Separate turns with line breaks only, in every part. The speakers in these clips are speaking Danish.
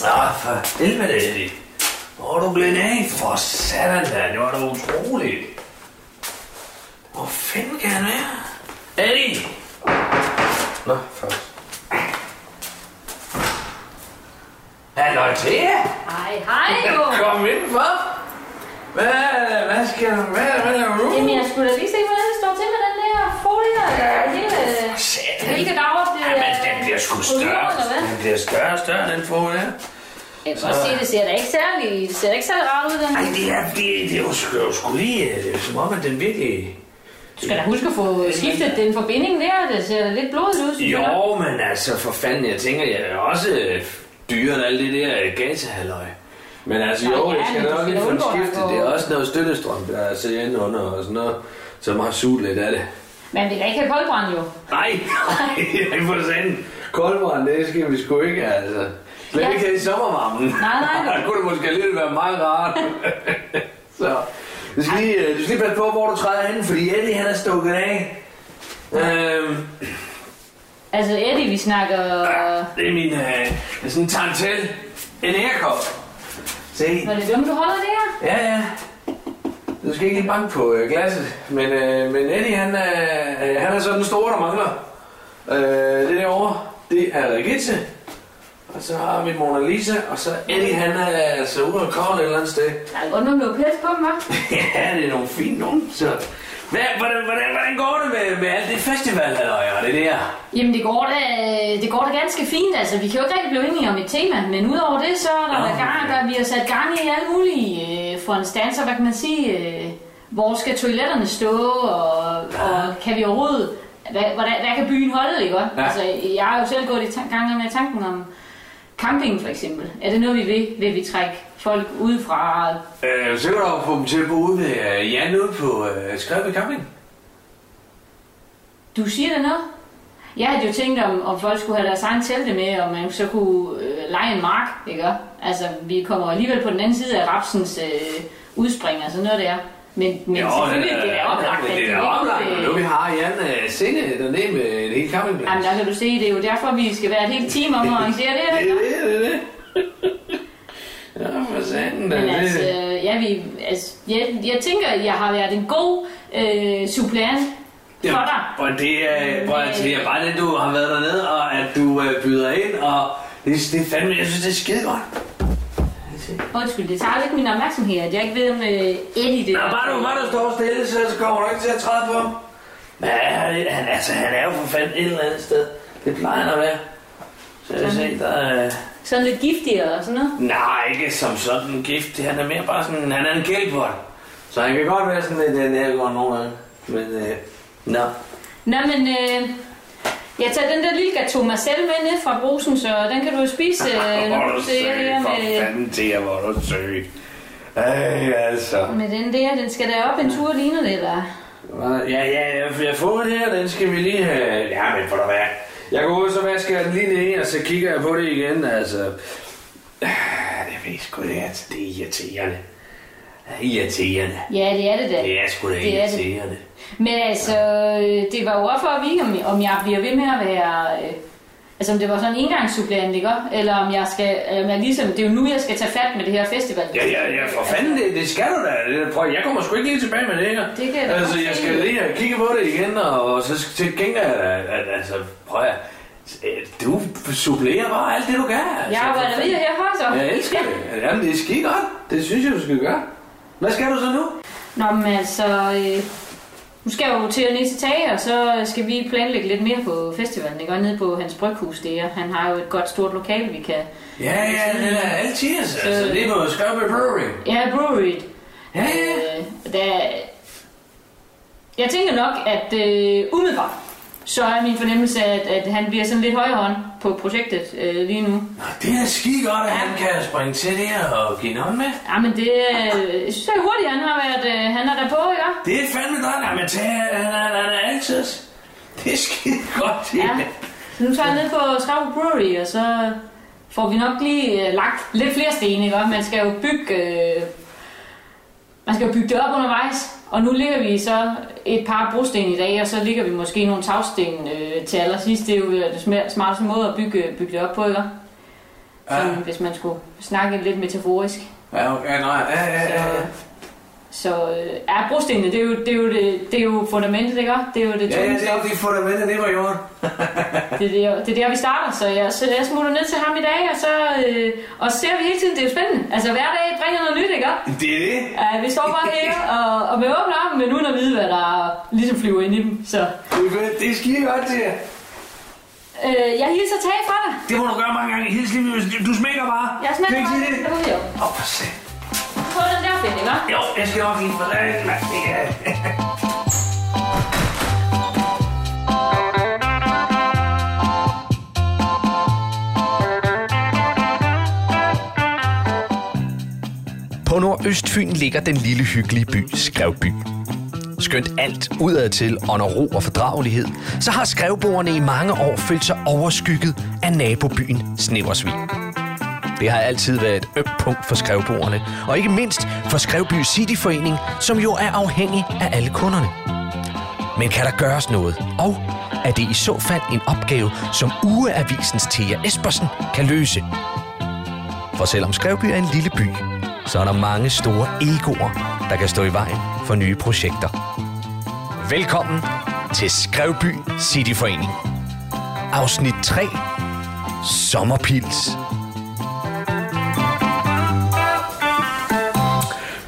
Nå, for helvede, Eddie. Hvor er du blevet af? For satan, da. Det var da utroligt. Hvor fanden kan han være? Eddie!
Nå, først.
Halløj til jer.
Hej, hej jo.
Kom indenfor. Hvad, hvad skal du Hvad, hvad er du?
Jamen, jeg skulle da lige se, hvordan det står til med den der folie øh, og hele,
Satan.
hele dagen bliver...
Jamen, den bliver sgu større. Den bliver større og større, den får der.
Jeg må sige, det ser da ikke særlig, det ser da ikke særlig rart ud, den.
Ej, det er, det, det er jo sgu, det er jo sgu lige, øh, det er som om, at den virkelig...
Du skal da huske at få skiftet den forbinding der, det ser da lidt blodet ud. synes jeg nok.
Jo, men altså, for fanden, jeg tænker, jeg er også øh, dyrere end alt det der øh, gatehalløj.
Men altså,
Nå,
jo,
ja,
jeg skal
men du
nok
skal
lige få den
undgå at
skiftet.
gå-
Det er også noget støttestrøm, der er så inde under og sådan noget, som har suget lidt af det.
Men vi kan ikke have koldbrand jo.
Nej, nej, for sanden.
Koldbrand, det skal vi sgu ikke, altså. Slet
Ja.
ikke her i sommervarmen.
Nej, nej.
Det kunne det måske alligevel være meget rart. så, du skal, lige, øh, du skal lige passe på, hvor du træder hen, fordi Eddie, han er stukket af. Øhm,
Altså, Eddie, vi snakker...
Det er min, øh, det er sådan en tantel. En ærkop. Se.
Var det dumt, du holder det her?
ja, ja. Du skal ikke lige banke på øh, glasset, men, øh, men Eddie, han er, øh, han er så den store, der mangler. Øh, det derovre, det er Rigitte. Og så har vi Mona Lisa, og så Eddie, han er øh, så ude og kravle et eller andet sted.
Der er godt nok noget pæs på dem, hva'?
Ja, det er nogle fine nogen, så... Hvad, hvordan, hvordan, hvordan går det med, med alt det festival, halløj, og det der?
Jamen, det går, da, det går da ganske fint. Altså, vi kan jo ikke rigtig blive enige om et tema, men udover det, så er der
Nå,
oh, gang,
ja.
der vi har sat gang i alle mulige øh, foranstaltninger. Hvad kan man sige? Øh, hvor skal toiletterne stå, og, og kan vi overhovedet... Hvad, hvordan, hvad kan byen holde, ikke? Ja.
Ja.
Altså, jeg har jo selv gået i tan- gang med tanken om camping, for eksempel. Er det noget, vi vil? Vil vi trække folk udefra?
Øh, så kan du få dem til at bo ude ved øh, Jan ude på øh, Skrøbe Camping.
Du siger da noget? Jeg havde jo tænkt, om, om folk skulle have deres egen telte med, og man så kunne øh, lege en mark, ikke? Altså, vi kommer alligevel på den anden side af rapsens øh, udspring og sådan noget der. Men, men jo, selvfølgelig, det er da oplagt, at
Det
ikke
er oplagt,
kunne,
øh, men
øh,
Nu vi har Jan øh, Sinde dernede med en hel campingplads.
Jamen, der kan du se, det er jo derfor, vi skal være et helt team om at arrangere det,
Det
ikke?
er det, det er det. ja, for sanden. da,
Men
det-
altså, øh, ja, vi, altså jeg, jeg tænker, at jeg har været en god øh, supplant for dig.
og det er, prøv at det er bare det, du har været dernede, og at du øh, byder ind, og det, det er fandme, jeg synes, det er skide godt.
Undskyld, det tager lidt min opmærksomhed, at jeg ikke ved, om øh, Eddie det
Nå, bare du, bare du står stille, så, så kommer du ikke til at træde på ham. Men han, han, altså, han er jo for fanden et eller andet sted. Det plejer han at være. Så jeg se, der er...
Sådan lidt giftigere og sådan noget.
Nej, ikke som sådan en gift. Han er mere bare sådan... Han er en gældbånd.
Så han kan godt være sådan lidt øh, nærgående nogle gange. Men øh,
Nå.
Nå, men øh, jeg tager den der lille gato Marcel med ned fra brusen, så den kan du jo spise, øh,
Hvor er
når
du
du ser
søg,
her
for
med,
fanden til, hvor er du søg. Ej, altså.
med den der. Den skal da op en tur, ligner det, eller?
hvad-
Ja,
ja,
ja, jeg, jeg får det her, den skal vi lige have. Ja, men for da være.
jeg går ud, så vasker jeg den lige ned, og så kigger jeg på det igen, altså.
Ja, det ved jeg sgu det er. Det er irriterende. Det er irriterende.
Ja, det er det da.
Det er sgu da
Det er det.
irriterende.
Men altså, øh, det var jo op for at vide, om, om jeg bliver ved med at være... Øh, altså, om det var sådan en engangssupplant, ikke? Eller om jeg skal... Eller om jeg ligesom, det er jo nu, jeg skal tage fat med det her festival.
Ja, ja, ja, for fanden, det, det skal du da. Det- Prøv, jeg kommer sgu ikke lige tilbage med det her.
Det kan jeg da
Altså,
godt
jeg
se.
skal lige have kigge på det igen, og, og så sk- til gengæld, at, at, altså, prøv at, øh, du supplerer bare alt det, du kan. Altså,
Jeg arbejder
for
videre
fanden.
herfra, så.
Jeg elsker det. Jamen, det er skide godt. Det synes jeg, du skal gøre. Hvad skal du så nu?
Nå, men altså... Øh, nu skal jeg jo til at ned til Tage, og så skal vi planlægge lidt mere på festivalen, ikke? Og nede på hans bryghus, det er. Han har jo et godt stort lokal, vi kan...
Ja, ja, det er altid, altså.
Så-
Det er på Skørbe Brewery.
Ja, breweryet.
Ja, ja.
Øh, der... Jeg tænker nok, at øh, umiddelbart, så er min fornemmelse, at, at han bliver sådan lidt højre hånd på projektet øh, lige nu.
Nå, det er skide godt, at han kan springe til der og give en hånd med.
Ja, men det øh, jeg synes jeg hurtigt, han har været, øh, han er der på, ja.
Det er fandme godt. Nej, men tag, han, han, han er altid. Det er skide godt. Det.
ja.
Ja.
Så nu tager jeg ned på Skrav Brewery, og så får vi nok lige øh, lagt lidt flere sten, ikke? også? Man skal jo bygge, øh, man skal jo bygge det op undervejs, og nu ligger vi så et par brosten i dag, og så ligger vi måske nogle øh, tagsten øh, til allersidst. Det er jo øh, det sma- smarteste måde at bygge, bygge det op på, ikke?
Ja.
sådan, hvis man skulle snakke lidt metaforisk.
Ja, okay, nej, ja, ja, ja, ja.
Så øh, er brostenene, det er jo, det er jo, det, det er jo fundamentet, ikke? også? Det er jo det
Ja,
tunge
ja, det
stof.
er de fundamenter, det var jorden.
Det er der, det er der vi starter, så jeg, så jeg smutter ned til ham i dag, og så øh, og så ser vi hele tiden, det er jo spændende. Altså hver dag bringer noget nyt, ikke? også?
Det er det.
Uh, vi står bare her og, og med åbne arme, men uden at vide, hvad der ligesom flyver ind i dem. Så
Det er fedt. Det er skide godt til jer.
øh, jeg hilser tag fra dig.
Det må du gøre mange gange. Hils lige, du- du smækker bare.
Jeg smager
Kan du ikke
godt.
sige det?
Nu er vi jo.
Åh, for sat.
Få den der fedt, ikke? også?
Jo, jeg skal nok lige for dig. Ja.
På Nordøstfyn ligger den lille hyggelige by Skrevby. Skønt alt udadtil under ro og fordragelighed, så har skrevboerne i mange år følt sig overskygget af nabobyen Sneversvig. Det har altid været et ømt punkt for skrevboerne, og ikke mindst for Skrevby Cityforening, som jo er afhængig af alle kunderne. Men kan der gøres noget? Og er det i så fald en opgave, som Ugeavisens Thea Espersen kan løse? For selvom Skrevby er en lille by, så er der mange store egoer, der kan stå i vejen for nye projekter. Velkommen til Skrevby Cityforening. Afsnit 3. Sommerpils.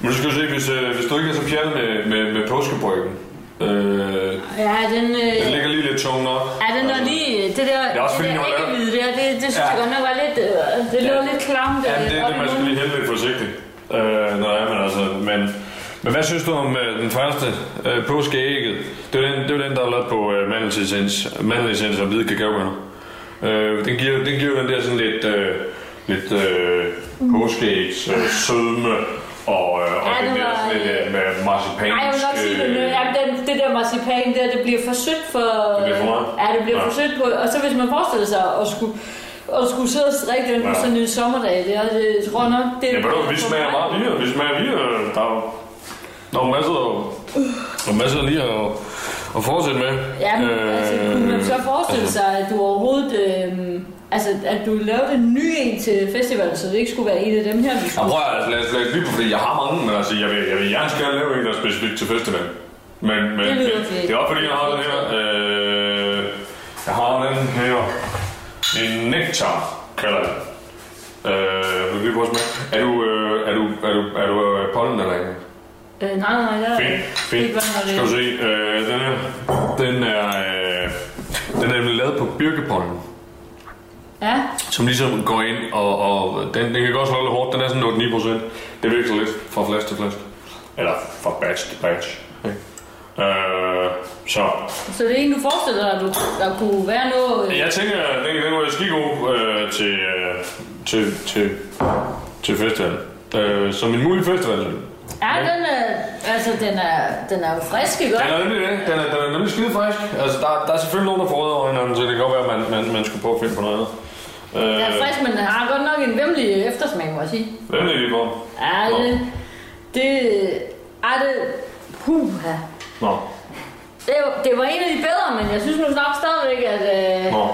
Men du skal se, hvis, øh, hvis du ikke er så fjernet med, med, med påskebryggen. Øh,
Ja, den, øh,
den ligger lige lidt tungt op.
ja, den der lige, det der,
er også
det
fordi,
der
når man er-
ikke-hvide der, det, det synes ja.
Ja.
jeg godt nok var lidt, øh, det lå
Ja.
lidt klamt.
Ja,
øh,
det er
op
det,
i
man skal
munden.
lige hælde lidt forsigtigt. Øh, nej, men altså, men, men hvad synes du om øh, den første øh, påskeægget? Det er den, det er den, der er lavet på øh, mandelessens, mandelessens og hvide kakaobønner. Øh, den, giver, den giver jo den der sådan lidt, øh, lidt øh, påskeægs øh, sødme og, øh, og
Ja,
den
det
der
var-
sådan lidt øh, med marcipansk...
Ej, jeg vil nok sige, at
øh,
øh, den, det der marcipan der, det bliver for sødt for...
Det bliver for meget.
Ja, det bliver
Ja.
for sødt på. Og så hvis man forestiller sig at skulle, at skulle sidde og strikke den på
Ja.
sådan en sommerdag, det, er, det tror jeg nok... Det,
Ja, men du, vi smager meget lige, vi smager lige, øh, der er jo- der er jo masser, der er masser lige at, at fortsætte med.
Ja, men
Øh,
altså, kunne man så forestille
altså.
sig, at du overhovedet... Øh, altså, at du lavede en ny en til festivalen, så det ikke skulle være en af dem her, vi
Jeg
skulle...
prøver altså, lad os, lad os blive på, fordi jeg har mange, men altså, jeg vil, jeg vil gerne skal lave en, der er specifikt til festivalen. Men, men
Det
det,
lyder fedt.
det, er også fordi, jeg har den her, øh, jeg har den her, en nektar, kalder jeg den. Øh, vil vi lige prøve at smage? Er du, øh, er du, er du, er du, er pollen eller ikke?
Øh, nej, nej, nej, der
Fint, fint.
Ikke, hvad
Skal du se, øh, den her, den er, øh, den er nemlig lavet på birkepollen,
Ja,
som ligesom går ind, og, og den, den kan godt slå lidt hårdt, den er sådan 8-9 procent. Det veksler lidt fra flaske til flaske. Eller fra batch til batch. ikke? Øh, så
så det er en, du forestiller dig, at du, der kunne være noget... Øh,
jeg tænker, at den, den var skide god øh, til, øh, til, til, til festivalen. Øh, som en mulig festival.
Ja, den er, altså, den er, den er jo frisk, ikke?
Den er nemlig det. Den er, den er nemlig skide frisk. Altså, der, der er selvfølgelig nogen, der får ud over hinanden, så det kan godt være, at man, man, man skulle prøve at finde på noget andet. Øh,
Den er frisk, men den har godt nok en vemmelig eftersmag, må jeg sige.
Hvem er det, vi får?
Ja, det... Det... Ej, det... Puha.
Nå.
Det, det var en af de bedre, men jeg synes nu nok stadigvæk, at... Øh,
Nå.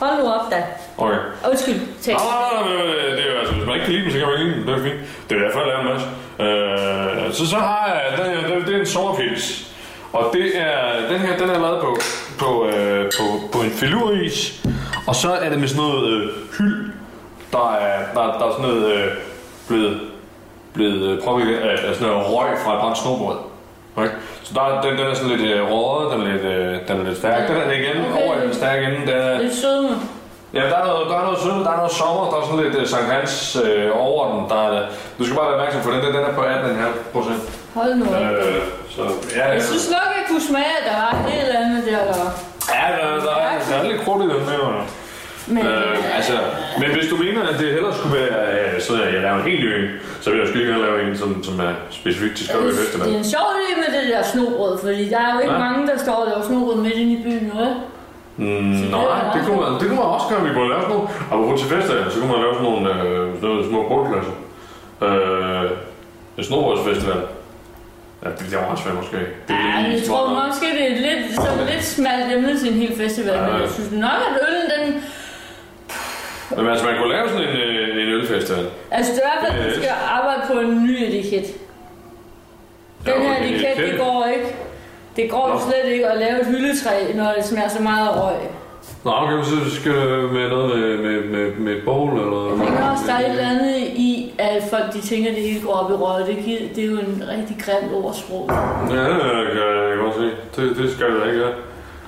hold nu op, da.
Okay.
Undskyld, tag.
Nå, nej, nej, nej, nej, det er jo altså, hvis man ikke kan lide dem, så kan man ikke lide dem. Det er fint. Det er derfor, jeg laver en masse. Øh, så, så har jeg den her, det, det er en sommerpils. Og det er, den her, den er lavet på, på, øh, på, på en filuris. Og så er det med sådan noget øh, hyld, der er, der, der er sådan noget øh, blevet blevet øh, påvirket af, af sådan noget røg fra et brændt snobrød. Okay? Så der, er- den, den er sådan lidt øh, rådet, den er lidt, øh, den er lidt stærk. Den er det igen,
Okay.
over i den stærke ende. Den er,
Lidt sødme.
ja, der er noget, der er noget sødt, der er noget sommer, der er sådan lidt øh, Sankt Hans øh, over den. Der er, du skal bare være opmærksom på den, den, den er på 18,5 procent.
Hold nu op.
Øh, så ja, ja.
Jeg synes nok, jeg kunne smage, at der var et eller andet der, der var.
Ja, der, der, er, der er lidt krudt i den her.
Men,
Øh, altså, men hvis du mener, at det hellere skulle være, øh, så jeg laver en helt ny en, så vil jeg sgu ikke lave en, som, som er specifikt til
Jeg
Skål i
synes,
Festival.
Det er en sjov idé med det der snobrød, fordi der er jo ikke
Ja.
mange, der står og laver snobrød midt inde i byen, vel?
Mm, nej, det kunne, man, det kunne man også gøre. Vi kunne lave sådan nogle... Apropos til festivalen, så kunne man lave sådan nogle, øh, sådan nogle små brugklasser. Øh, en snobrødsfestival. Ja, det er også svært måske. Det er
Ja, jeg
lige
tror
smart nok.
måske, det er lidt, så lidt smalt emne til en hel festival,
Ja.
men jeg synes nok, at øllen den...
Men altså, man kunne lave sådan en, øh, en ølfestival.
Altså, det er i hvert fald, at
Øh.
man skal arbejde på en ny etiket. Den her
en
etiket, det
etiket.
går ikke. Det går
Nå.
slet ikke at lave et hyldetræ, når det smager så meget af røg.
Nå, okay, så skal du med noget med, med, med, med bowl eller...
Jeg kan også der er et eller andet i, at folk de tænker, at det hele går op i røg. Det, gi- det er jo en rigtig grimt ordsprog.
Ja, det kan jeg godt se. Det, det skal du ikke gøre.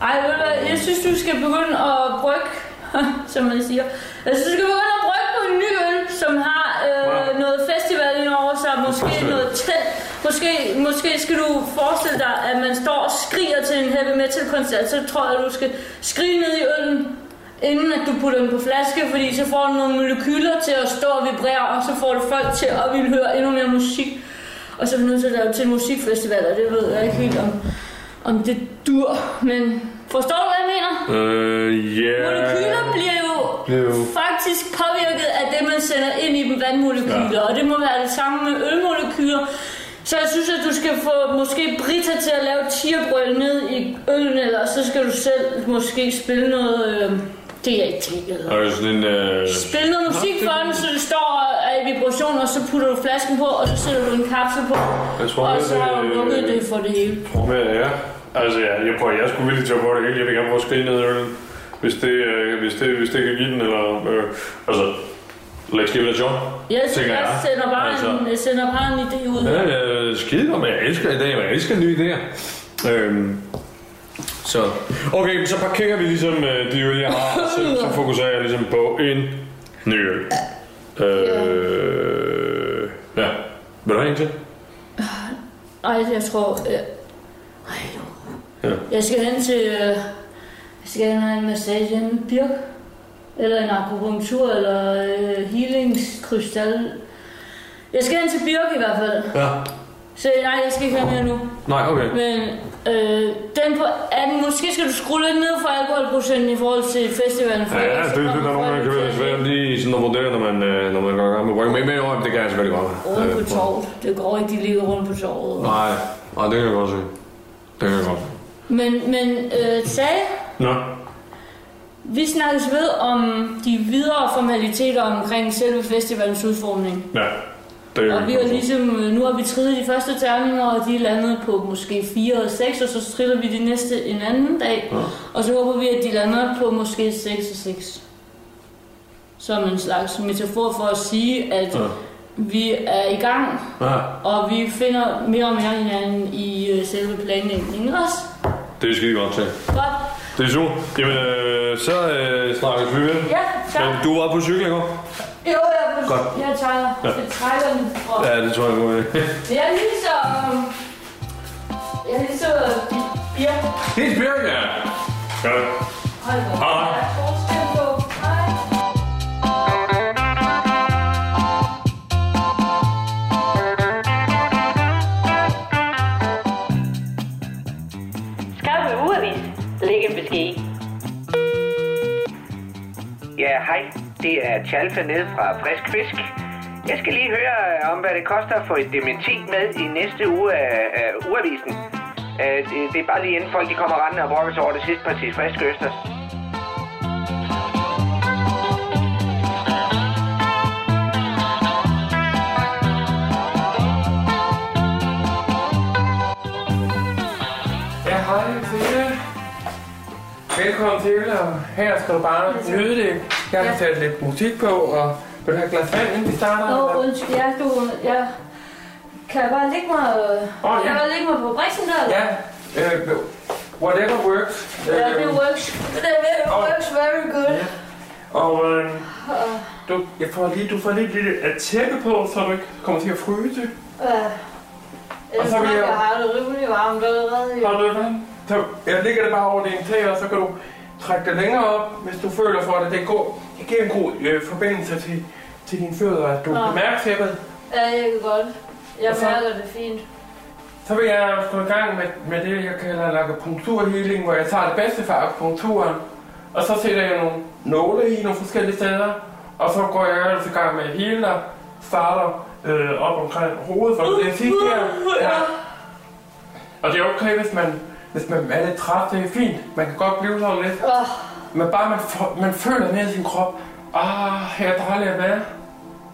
Ej, ved du hvad, jeg synes, du skal begynde at brygge, som man siger. Jeg synes, du skal begynde at brygge på en ny øl, som har øh, noget festival indover sig, måske
Festival.
noget telt. Måske, måske skal du forestille dig, at man står og skriger til en heavy metal koncert, så tror jeg, du skal skrige ned i øllen, inden at du putter den på flaske, fordi så får du nogle molekyler til at stå og vibrere, og så får du folk til at ville høre endnu mere musik. Og så er vi nødt til at lave til en musikfestival, og det ved jeg ikke helt om, om det dur, men forstår du, hvad jeg mener?
Øh, ja...
Molekyler bliver jo
Bliver jo-
faktisk påvirket af det, man sender ind i dem, vandmolekyler, og det må være det samme med ølmolekyler. Så jeg synes, at du skal få måske Brita til at lave tierbrøl ned i øllen, eller så skal du selv måske spille noget øh, DAT, eller
Og sådan en... Øh,
Spil noget musik for den, så det står og er i vibration, og så putter du flasken på, og så sætter du en kapsel på,
Jeg tror, øh,
og
det-
så har du lukket det for det hele.
Hvad ja. Altså, ja, jeg prøver, jeg er sgu villig til at prøve det hele. Jeg vil gerne prøve at skrige ned i øllen, hvis det, øh, hvis, det, hvis det kan give den, eller... Øh, altså, let's give it a shot.
Jeg,
tænker Altså,
jeg sender bare, en, jeg sender bare en idé ud.
Ja, øh, skide godt, men jeg elsker i dag, og jeg elsker nye idéer. Øhm, så. Okay, så parkerer vi ligesom øh, de øl, jeg har, og så, så fokuserer jeg ligesom på en ny øl. Øh, ja. Vil du have en til?
Ej, jeg tror... Øh, ej, jo.
Ja.
Jeg skal hen til... Øh, jeg skal hen og have en massage hjemme i Birk. Eller en akupunktur, eller øh, healingskrystal. Jeg skal hen til Birk i hvert fald.
Ja.
Så nej, jeg skal ikke have mere nu.
Nej, okay.
Men øh, den på 18, måske skal du skrue lidt ned for alkoholprocenten i forhold til festivalen. For
Ja, ja,
ellers
det,
så
det, det,
kommer
der er nogen, der kan
folk
være
til
svært lige sådan at vurdere, når man, øh, når man går i gang med brygge. Men med i år, det kan jeg selvfølgelig godt.
at Rundt
Øh,
på torvet. Det går ikke, de ligger rundt på torvet.
Nej, nej, det kan jeg godt se. Det kan jeg godt se.
Men, men øh, sagde,
Nå.
vi snakkes ved om de videre formaliteter omkring selve festivalens udformning.
Ja, det kan
Og vi
jeg
har
godt se.
ligesom, øh, nu har vi trillet de første terninger, og de er landet på måske 4 og 6, og så triller vi de næste en anden dag.
Ja.
Og så håber vi, at de lander på måske 6 og 6. Som en slags metafor for at sige, at
Ja.
vi er i gang,
Ja,
og vi finder mere og mere hinanden i øh, selve planlægningen også.
det er skide godt til.
Godt.
Det er super. Jamen, øh, så øh, snakkes vi ved.
Ja,
Men
tak.
du var på cykel i går?
Jo, jeg er på
Godt.
Jeg tager
Ja.
jeg trækker den fra.
Ja, det tror jeg godt.
Jeg er lige så... øh, Jeg er lige så... Ja,
Det er Bjørn, ja. Godt.
hold da.
Hej.
Der er forskel på. Hej.
Skriv med ugeavis. Læg en besked.
Ja, hej. Det er Chalfe nede fra Frisk Fisk. Jeg skal lige høre øh, om, hvad det koster at få et dementi med i næste uge af, af ugeavisen. Øh, det, det er bare lige inden folk de kommer rendende og brokker sig over det sidste parti friske østers.
Ja, hej Fede. Velkommen til, og her skal du bare nyde det. Jeg har sat lidt musik på, og vil du have et glas vand, inden vi starter?
Nå,
eller?
undskyld. Ja, du... Ja. Kan jeg bare lægge mig... øh,
Åh,
Kan
ja.
jeg bare lægge mig på briksen der? eller?
Ja, øh, whatever works. Øh,
Ja, det works. Det det works very good.
og øh, du, jeg får lige, du får lige et lille at tæppe på, så du ikke kommer til at fryse.
Øh,
Og
Ellers
så vil
tror jeg,
jeg-
jeg har det rimelig varmt allerede. jo.
Har du det? Så jeg lægger det bare over din tæer, og så kan du trække det længere op, hvis du føler for det. Det, går, det giver en god øh, forbindelse til, til dine fødder, at du
Nå.
bemærker tæppet.
Ja, jeg kan godt. Jeg
Og så-
mærker det fint.
Så vil jeg gå i gang med, med det, jeg kalder akupunkturhealing, hvor jeg tager det bedste fra akupunkturen, og så sætter jeg nogle nåle i nogle forskellige steder, og så går jeg ellers i gang med at hele dig, starter øh, op omkring hovedet, for det er sidst her. Ja. Og det er okay, hvis man, hvis man er lidt træt, det er fint. Man kan godt blive sådan lidt,
Åh,
men bare man, får- man føler ned i sin krop, Ah, her er dejligt at være.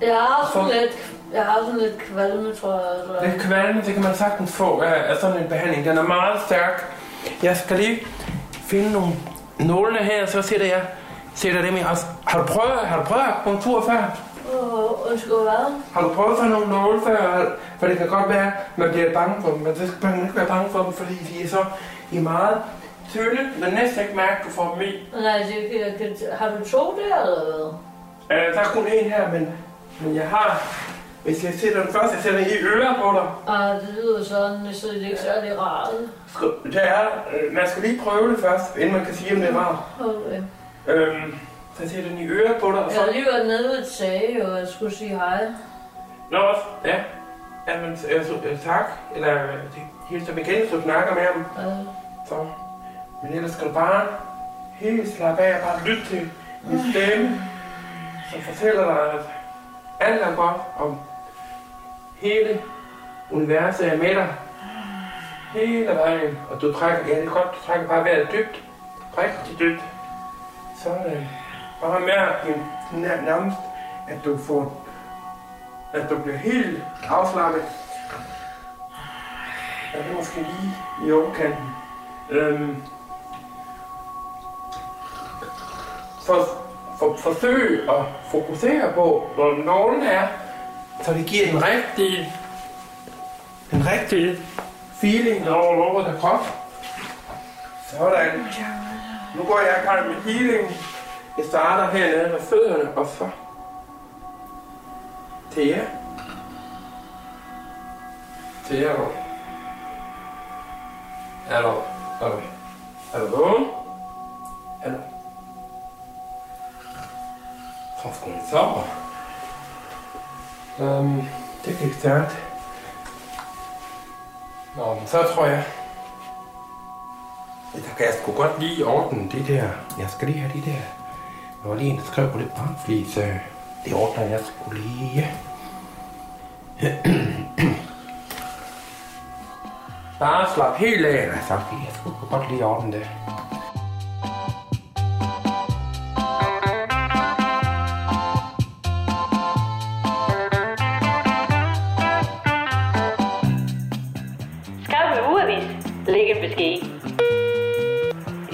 Jeg har sådan lidt, jeg har sådan lidt kvalme, tror jeg. Altså.
Det kvalme, det kan man sagtens få af, af sådan en behandling. Den er meget stærk. Jeg skal lige finde nogle nålene her, så sætter jeg sætter dem i. Altså, Har du prøvet, har du prøvet akupunktur før?
Åh, undskyld, hvad?
Har du prøvet at få nogle nåle før? For det kan godt være, at man bliver bange for dem, men det skal man ikke være bange for dem, fordi de er så i er meget tynde. Man næsten ikke mærke, at du får dem i.
Nej, det, kan- kan, har du to der, eller hvad?
Øh, der er kun en her, men, men jeg har... Hvis jeg sætter den først, jeg sætter den i ører på dig.
Ah, det lyder sådan, så det er ikke særlig rart.
Skal- Det er, øh, man skal lige prøve det først, inden man kan sige, om det er rart.
Okay.
Øhm, så sætter den i øret på dig, og
Jeg har
så...
lige været nede ved et sage, og jeg skulle sige hej.
Nå, ja. Jamen, øh, så, øh, tak. Eller øh, det hilser dem igen, så du snakker med ham.
Øh,
Så. Men ellers skal du bare helt slappe af og bare lytte til min stemme, som fortæller dig, at alt er godt, og hele universet er med dig hele vejen. Og du trækker, ja det er godt, du trækker bare vejret dybt, rigtig dybt. Sådan. Bare mærk din- din nær- nærmest, at du får, at du bliver helt afslappet. Er det måske lige i overkanten? Øhm, for, for, forsøg at fokusere på, hvor nogen er, så det giver den rigtige, den rigtige feeling over over der krop. Sådan. Nu går jeg i gang med healing. Jeg starter hernede med fødderne og så til jer. Til jer. Rolf. Er du, er du, er du vågen? Er du? Tror sgu, hun sover. Øhm, det gik stærkt. Nå, men så tror jeg... Der kan jeg sgu godt lige ordne det der. Jeg skal lige have de der. Der var lige en, der skrev på lidt barn, fordi så det ordner jeg sgu lige. Bare slap helt af. Nej, tak. Jeg skulle godt lige ordne det.
Skrev med ugeavis. Læg en besked.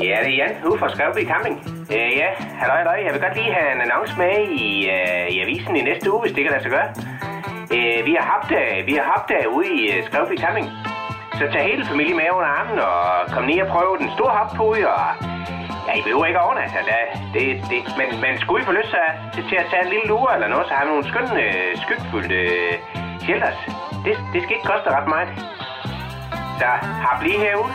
Ja, det er Jan ude fra Skrøvby Camping. Øh, ja, halløj, halløj. Jeg vil godt lige have en annonce med i, øh, i avisen i næste uge, hvis det kan lade sig gøre. Øh, vi har haft vi har haft ude i øh, Skrøvby Camping. Så tag hele familien med under armen og kom ned og prøv den store hoppude og... Ja, I behøver ikke at overnatte, altså, der, det, det, men, men skulle I få lyst så, til, til at tage en lille lure eller noget, så har vi nogle skønne, øh, skygfyldte øh, shelters. Det, det skal ikke koste ret meget. Så har bliv herude.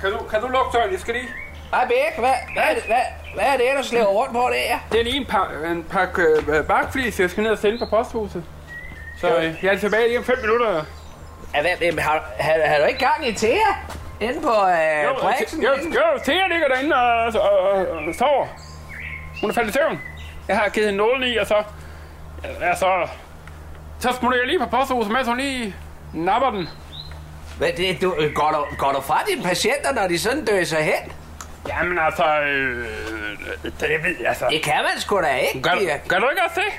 Kan du, kan du lukke døren? Jeg skal lige...
Hej Bæk, hvad, hvad, er det, hvad, hvad er det, der slæver rundt på det her?
Det er lige en, par, en pakke øh, bakflis, jeg skal ned og sende på posthuset. Så øh, jeg er tilbage lige om 5 minutter.
Ja, hvad, jamen, har, har, har, du ikke gang i Thea? Inde på øh,
Jo,
Brixen?
jo, jo, Thea ligger derinde og, og, og, og sover. Hun er faldet i søvn. Jeg har givet hende nålen i, og så... Ja, så... Så smutter jeg lige på posthuset, mens hun lige napper den.
Hvad, det, du, øh, går, du, går du fra dine patienter, når de sådan døser hen?
Jamen altså... Øh, det, jeg ved, altså...
Det kan man sgu da ikke,
Gør,
Birk.
gør du ikke også det?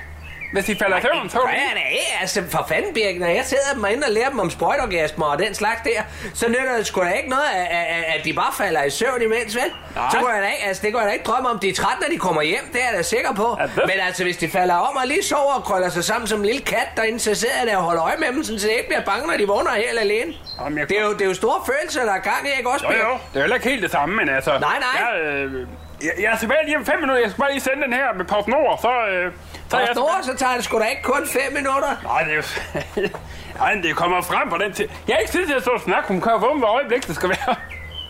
Hvis de falder i søvn, så...
Gør jeg da ikke? Altså, for fanden, Birk, når jeg sidder dem inde og lærer dem om sprøjtorgasmer og den slags der, så nytter det sgu da ikke noget, at, at, at- at de bare falder i søvn imens, vel? Nej. Så går jeg da ikke, altså, det går jeg da ikke drømme om. De er trætte, når de kommer hjem, det er jeg da sikker på.
Ja, det-
Men altså, hvis de falder om og lige sover og krøller sig sammen som en lille kat derinde, så sidder jeg der og holder øje med dem, sådan, så jeg ikke bliver bange, når de vågner helt alene.
Jamen, jeg-
Det er, jo, det er jo store følelser, der er gang i, ikke også,
Jo,
Birk?
jo. Det er heller ikke helt det samme, men altså...
Nej, nej.
Jeg, øh, jeg, jeg er tilbage lige om 5 minutter. Jeg skal bare lige sende den her med PostNord, så... Øh, så er jeg
Og store, så tager det sgu da ikke kun fem minutter.
Nej, det er jo... Ej, men det kommer frem på den tid. Jeg har ikke tid til at stå og snakke. Hun kører vågen, hvor øjeblik det skal være.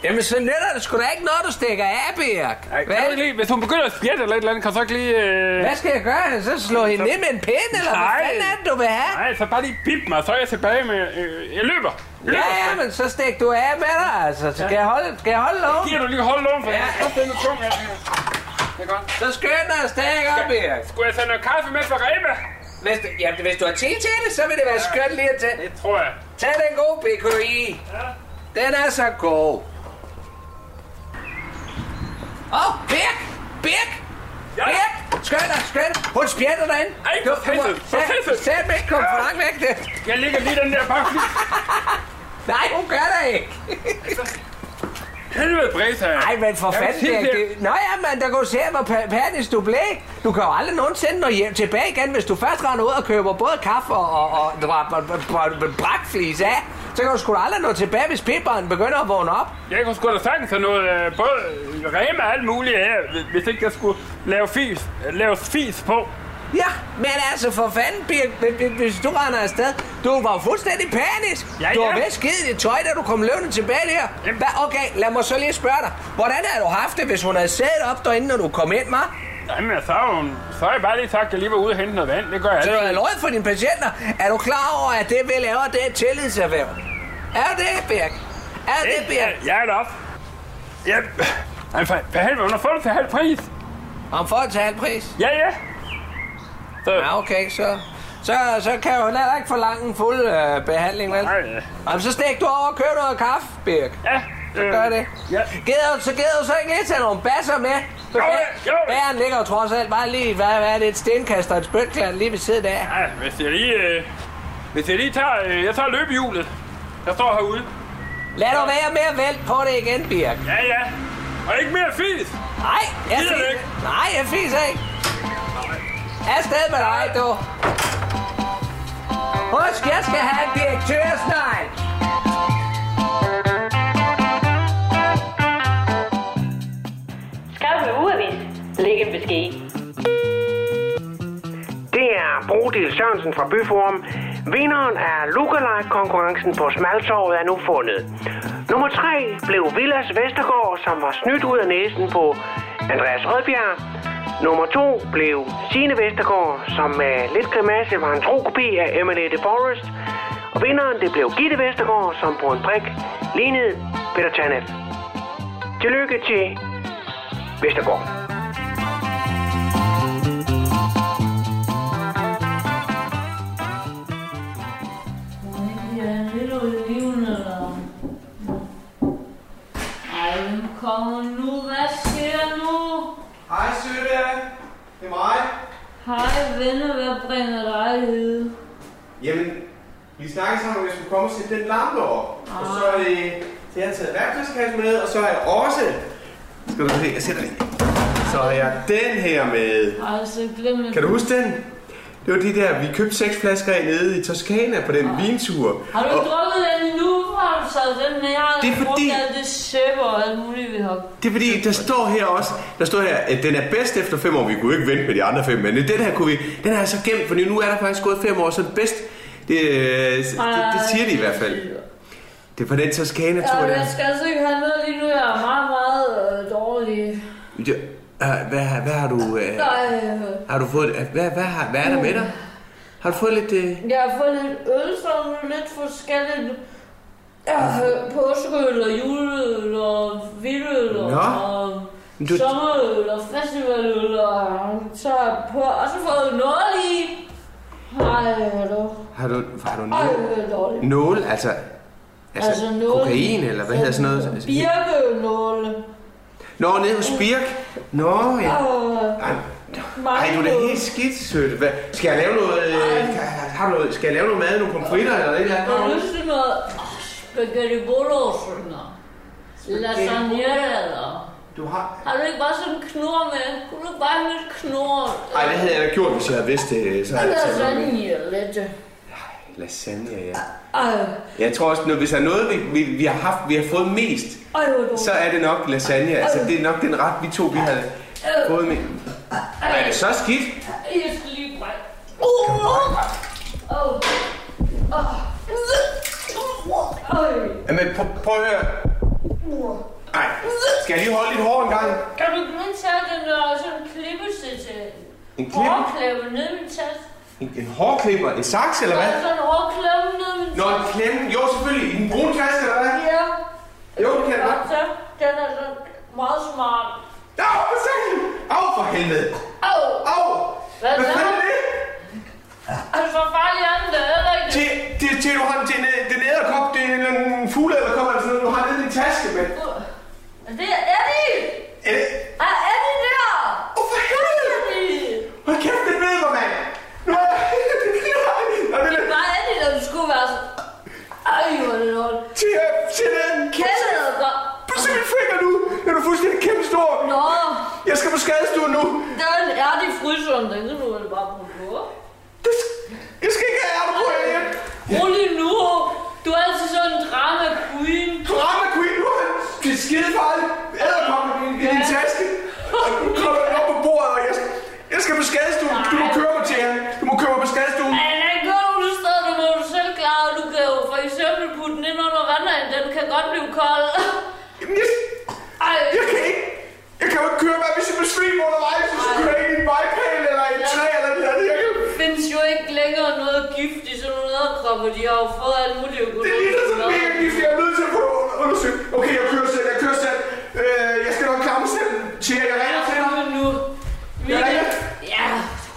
Jamen, så nytter det sgu da ikke noget, du stikker af, Birk.
Ej, kan du ikke lige, hvis hun begynder at spjætte eller et eller andet, kan du så ikke lige... Øh...
Hvad skal jeg gøre? Så slå hende ned med en pind, eller
Nej.
hvad fanden er det, du vil have?
Nej, så bare lige bip mig, så er jeg tilbage med... Øh, jeg løber. løber.
Ja, ja, men så stik du af med dig, altså. Så skal jeg holde, skal jeg holde lov?
Giver du lige holde lån for ja. jeg er nu tung. Jeg,
Så skynd dig og stik op, Birk.
Skulle jeg tage noget kaffe med fra Rema?
Hvis, du- ja, hvis du har tid til det, så vil det være skønt lige at tage. Det tror jeg. Tag den gode BKI. Ja. Den er så god. Åh, oh, Birk! Birk! Ja. Birk! Skynd dig, skynd dig. Hun spjætter dig ind. Ej, for helvede, for helvede. Sæt mig ikke, kom for langt væk det. Jeg ligger lige den der bare Nej, hun gør det ikke. Helvede bræser Nej, men for
Jeg vil
fanden,
sige
Birk.
det.
Det... Nå ja, men der går se, hvor pa- panisk du blev. Du kan jo aldrig nogensinde nå hjem tilbage igen, hvis du først render ud og køber både kaffe og, og, og dra- br- br- br- br- brakflis af. Så kan du sgu da aldrig nå tilbage, hvis pibberen begynder at vågne op.
Jeg kunne sgu da sagtens have noget, øh, både Rema og alt muligt her, hvis- hvis ikke jeg skulle lave fis, lave fis på.
Ja, men altså for fanden, Birk, hvis- hvis- hvis du render afsted, du var jo fuldstændig panisk.
Ja,
Du
ja.
var ved skide i dit tøj, da du kom løbende tilbage der. Hva, okay, lad mig så lige spørge dig. Hvordan havde du haft det, hvis hun havde siddet op derinde, når du kom ind, mig?
Jamen, jeg så har hun, så har jeg bare lige sagt, at jeg lige var ude og hente noget vand. Det gør jeg
Så
altid.
Altså, du havde løjet for dine patienter. Er du klar over, at det vi laver, det er et tillidserhverv? Er det, Birk? Er det, Birk?
Jeg er deroppe. Ja, men for, for helvede, hun har fået det til halv pris.
Om for til halv pris?
Ja, ja.
Så. Ja, okay, så... Så, så kan hun heller ikke forlange en fuld øh, behandling, vel? Nej. Jamen, så stik du over og køb noget kaffe, Birk. Ja. Så
øh,
gør det. Ja. Gider, du- så gider du så ikke lige tage nogle basser med? Jo, jo. Bæren ligger jo trods alt bare lige, hvad, hvad er det, et stenkast og et spytklat lige ved siden af.
Ja, hvis jeg lige... Øh, hvis jeg lige tager... Øh, jeg tager løbehjulet. Jeg står herude.
Lad nu være med at vælte på det igen, Birk.
Ja, ja. Og ikke mere fis.
Nej, jeg
Gider
fiser
det ikke.
Nej, jeg fiser ikke. Afsted med dig, du. Husk, jeg skal have en direktørsnegl.
Skarpe ugeavis. Lægge besked.
Det er Brodil Sørensen fra Byforum. Vinderen af lookalike-konkurrencen på Smaltorvet er nu fundet. Nummer 3 blev Villas Vestergaard, som var snydt ud af næsen på Andreas Rødbjerg. Nummer 2 blev Sine Vestergaard, som med lidt grimasse var en tro kopi af Emily de Forest. Og vinderen det blev Gitte Vestergaard, som på en prik lignede Peter Tanev. Tillykke til Vestergaard.
Ja, lidt oliven, eller... Ej, hvem kommer nu? Hvad sker nu?
Hej, søde. Det er mig.
Hej, venner, hvad bringer dig hid?
Jamen, vi snakkede sammen, om jeg skulle komme og sætte den lampe op. Og
Ah.
så, øh, så jeg har taget værktøjskassen med, og så har jeg også... Skal du se, jeg sætter den. Så har jeg den her med.
Altså, glem det.
Kan du huske den? Det var de der, vi købte seks flasker af nede i Toskana på den vintur.
Ah. Har du
Og
ikke drukket den endnu? Hvor Har du taget den med? Jeg har
Det er
brugt
fordi-
alt det sæbe og alt muligt, vi har.
det er fordi, der står her også, der står her, at den er bedst efter fem år. Vi kunne jo ikke vente med de andre fem, men den her kunne vi, den er så gemt, for nu er der faktisk gået fem år, så den bedst, det, øh, det, det siger de i hvert fald. Det er på den Toskana-tur,
Ja,
der.
jeg skal altså ikke have noget lige nu. Jeg er meget, meget øh, dårlig.
Ja, øh, hvad, har- hvad har du... Øh,
Nej, øh,
har du fået... øh, Hvad, hvad, har, hvad er der med dig? Har du fået lidt... Øh,
jeg har fået lidt øl, som er lidt forskelligt.
Ah.
Øh, påskeøl og juleøl og vildøl og,
Nå.
og
Men du-
sommerøl og festivaløl og øh, så har jeg på, og så fået noget i. Ej, hvor er du.
har du, har du
Ej,
nål?
hvor er du dårlig.
Nål, altså... Altså,
Altså nål.
kokain, eller hvad hedder sådan noget? Altså,
Birkenåle.
Nå, ned hos Birk. Nå, ja.
Åh,
Ej, ej, du er da helt skidt, sødt. Hvad, skal jeg lave noget... Øh, kan- har du noget skal jeg lave noget mad, nogle pomfritter eller et eller
Har du
andet?
lyst til noget spaghetti bolognese eller lasagne eller?
Du har...
Har du ikke bare sådan en knor med? Kunne du ikke bare have lidt knor?
Ej, det havde jeg da gjort, hvis jeg havde vidst det. Så havde jeg taget noget med.
Lasagne lidt.
Lasagne, ja.
Ej,
Jeg tror også, når- hvis der er noget, vi, vi, vi, har haft, vi har fået mest,
ej, hvor er du.
så er det nok lasagne. Altså, det er nok den ret, vi to vi havde
Øh.
fået med. Ej, er det så skidt?
Jeg skal lige brænde. Uh! Åh. Åh. Øj.
Jamen, prøv, prøv at høre. Ej, skal jeg lige holde dit hår en gang?
Kan du ikke mindst have den der sådan klippesæt til?
En klippe?
Hårklæbe ned i min taske.
En, en hårklipper? En saks, eller
Der
hvad?
er sådan en hårklæbe ned i min
Nå, en
taske.
klemme. Jo, selvfølgelig. I den brune kasse, eller hvad?
Ja.
Jo, det kan jeg
Og
godt.
så, den er sådan meget smart.
Au, for satan! Au, for helvede!
Au!
Au!
Hvad
Hvad
så?
fanden er det?
Er du for farlig anden, der æder ikke
Til, til, til du har den til en, æ- det er en æderkop, det er en eller anden fugleæderkop eller sådan noget, du har nede i din taske, mand.
Er det Eddie?
Øh,
Er Eddie der?
Åh, for helvede! Hold kæft, det ved mig, mand! Nu er jeg... Nå, det er
Det
lidt...
var Eddie, der skulle være sådan. Ej, hvor er det lort.
Til, til den...
Kæmpe æderkop.
Du er simpelthen finger nu! Den er du fuldstændig kæmpe stor!
Nå,
Jeg skal på skadestuen nu!
det er en ærlig fryseren, den kan du vel bare bruge på.
Jeg skal ikke have ærter på hjem!
Rolig nu. Du er altid sådan en drama queen.
Drama queen, nu er han det er skide farligt. Æderkoppen i din- i din taske. Og nu kommer den op på bordet, og jeg skal... Jeg skal på skadestuen. Du må køre mig til ham. Du må køre mig på skadestuen.
Men den går nogle steder, der må du selv klare. Du kan jo for eksempel putte den ind under vandringen. Den kan godt blive kold.
Jamen, jeg,
Ej.
jeg kan ikke... Jeg kan jo ikke køre mig, hvis jeg besvimer undervejs. Hvis jeg kører ind i en vejpæl eller i et træ eller et eller andet. Jeg kan...
Der findes jo ikke længere noget gift i sådan nogle æderkropper. De har jo fået alt muligt økonomisk.
Det ligner sådan
mad.
mega gift, jeg er nødt til at få det under- undersøgt. Okay, jeg kører selv, jeg kører selv. Øh, jeg skal nok klare mig selv. Tia, jeg ringer til dig.
Rolig nu.
Jeg ringer.
Ja,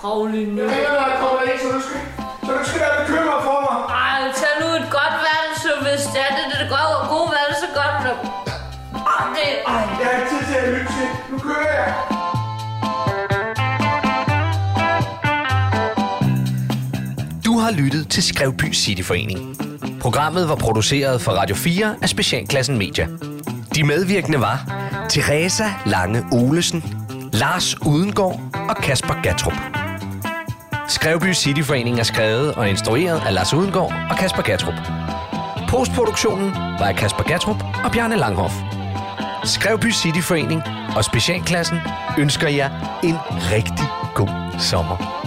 rolig nu.
Jeg ringer, når jeg kommer ind, så du skal... Så du skal være bekymret for mig.
Ej, tag nu et godt værelse, hvis det er det, det går og gode værelse godt. Så... Ej, det, ej.
Jeg har ikke tid til at lytte til. Nu kører jeg.
Du har lyttet til Skrevby Cityforening. Programmet var produceret for Radio 4 af Specialklassen Media. De medvirkende var Teresa Lange Olesen, Lars Udengård og Kasper Gatrup. Skrevby Cityforening er skrevet og instrueret af Lars Udengård og Kasper Gatrup. Postproduktionen var af Kasper Gatrup og Bjarne Langhoff. Skrevby Cityforening og Specialklassen ønsker jer en rigtig god sommer.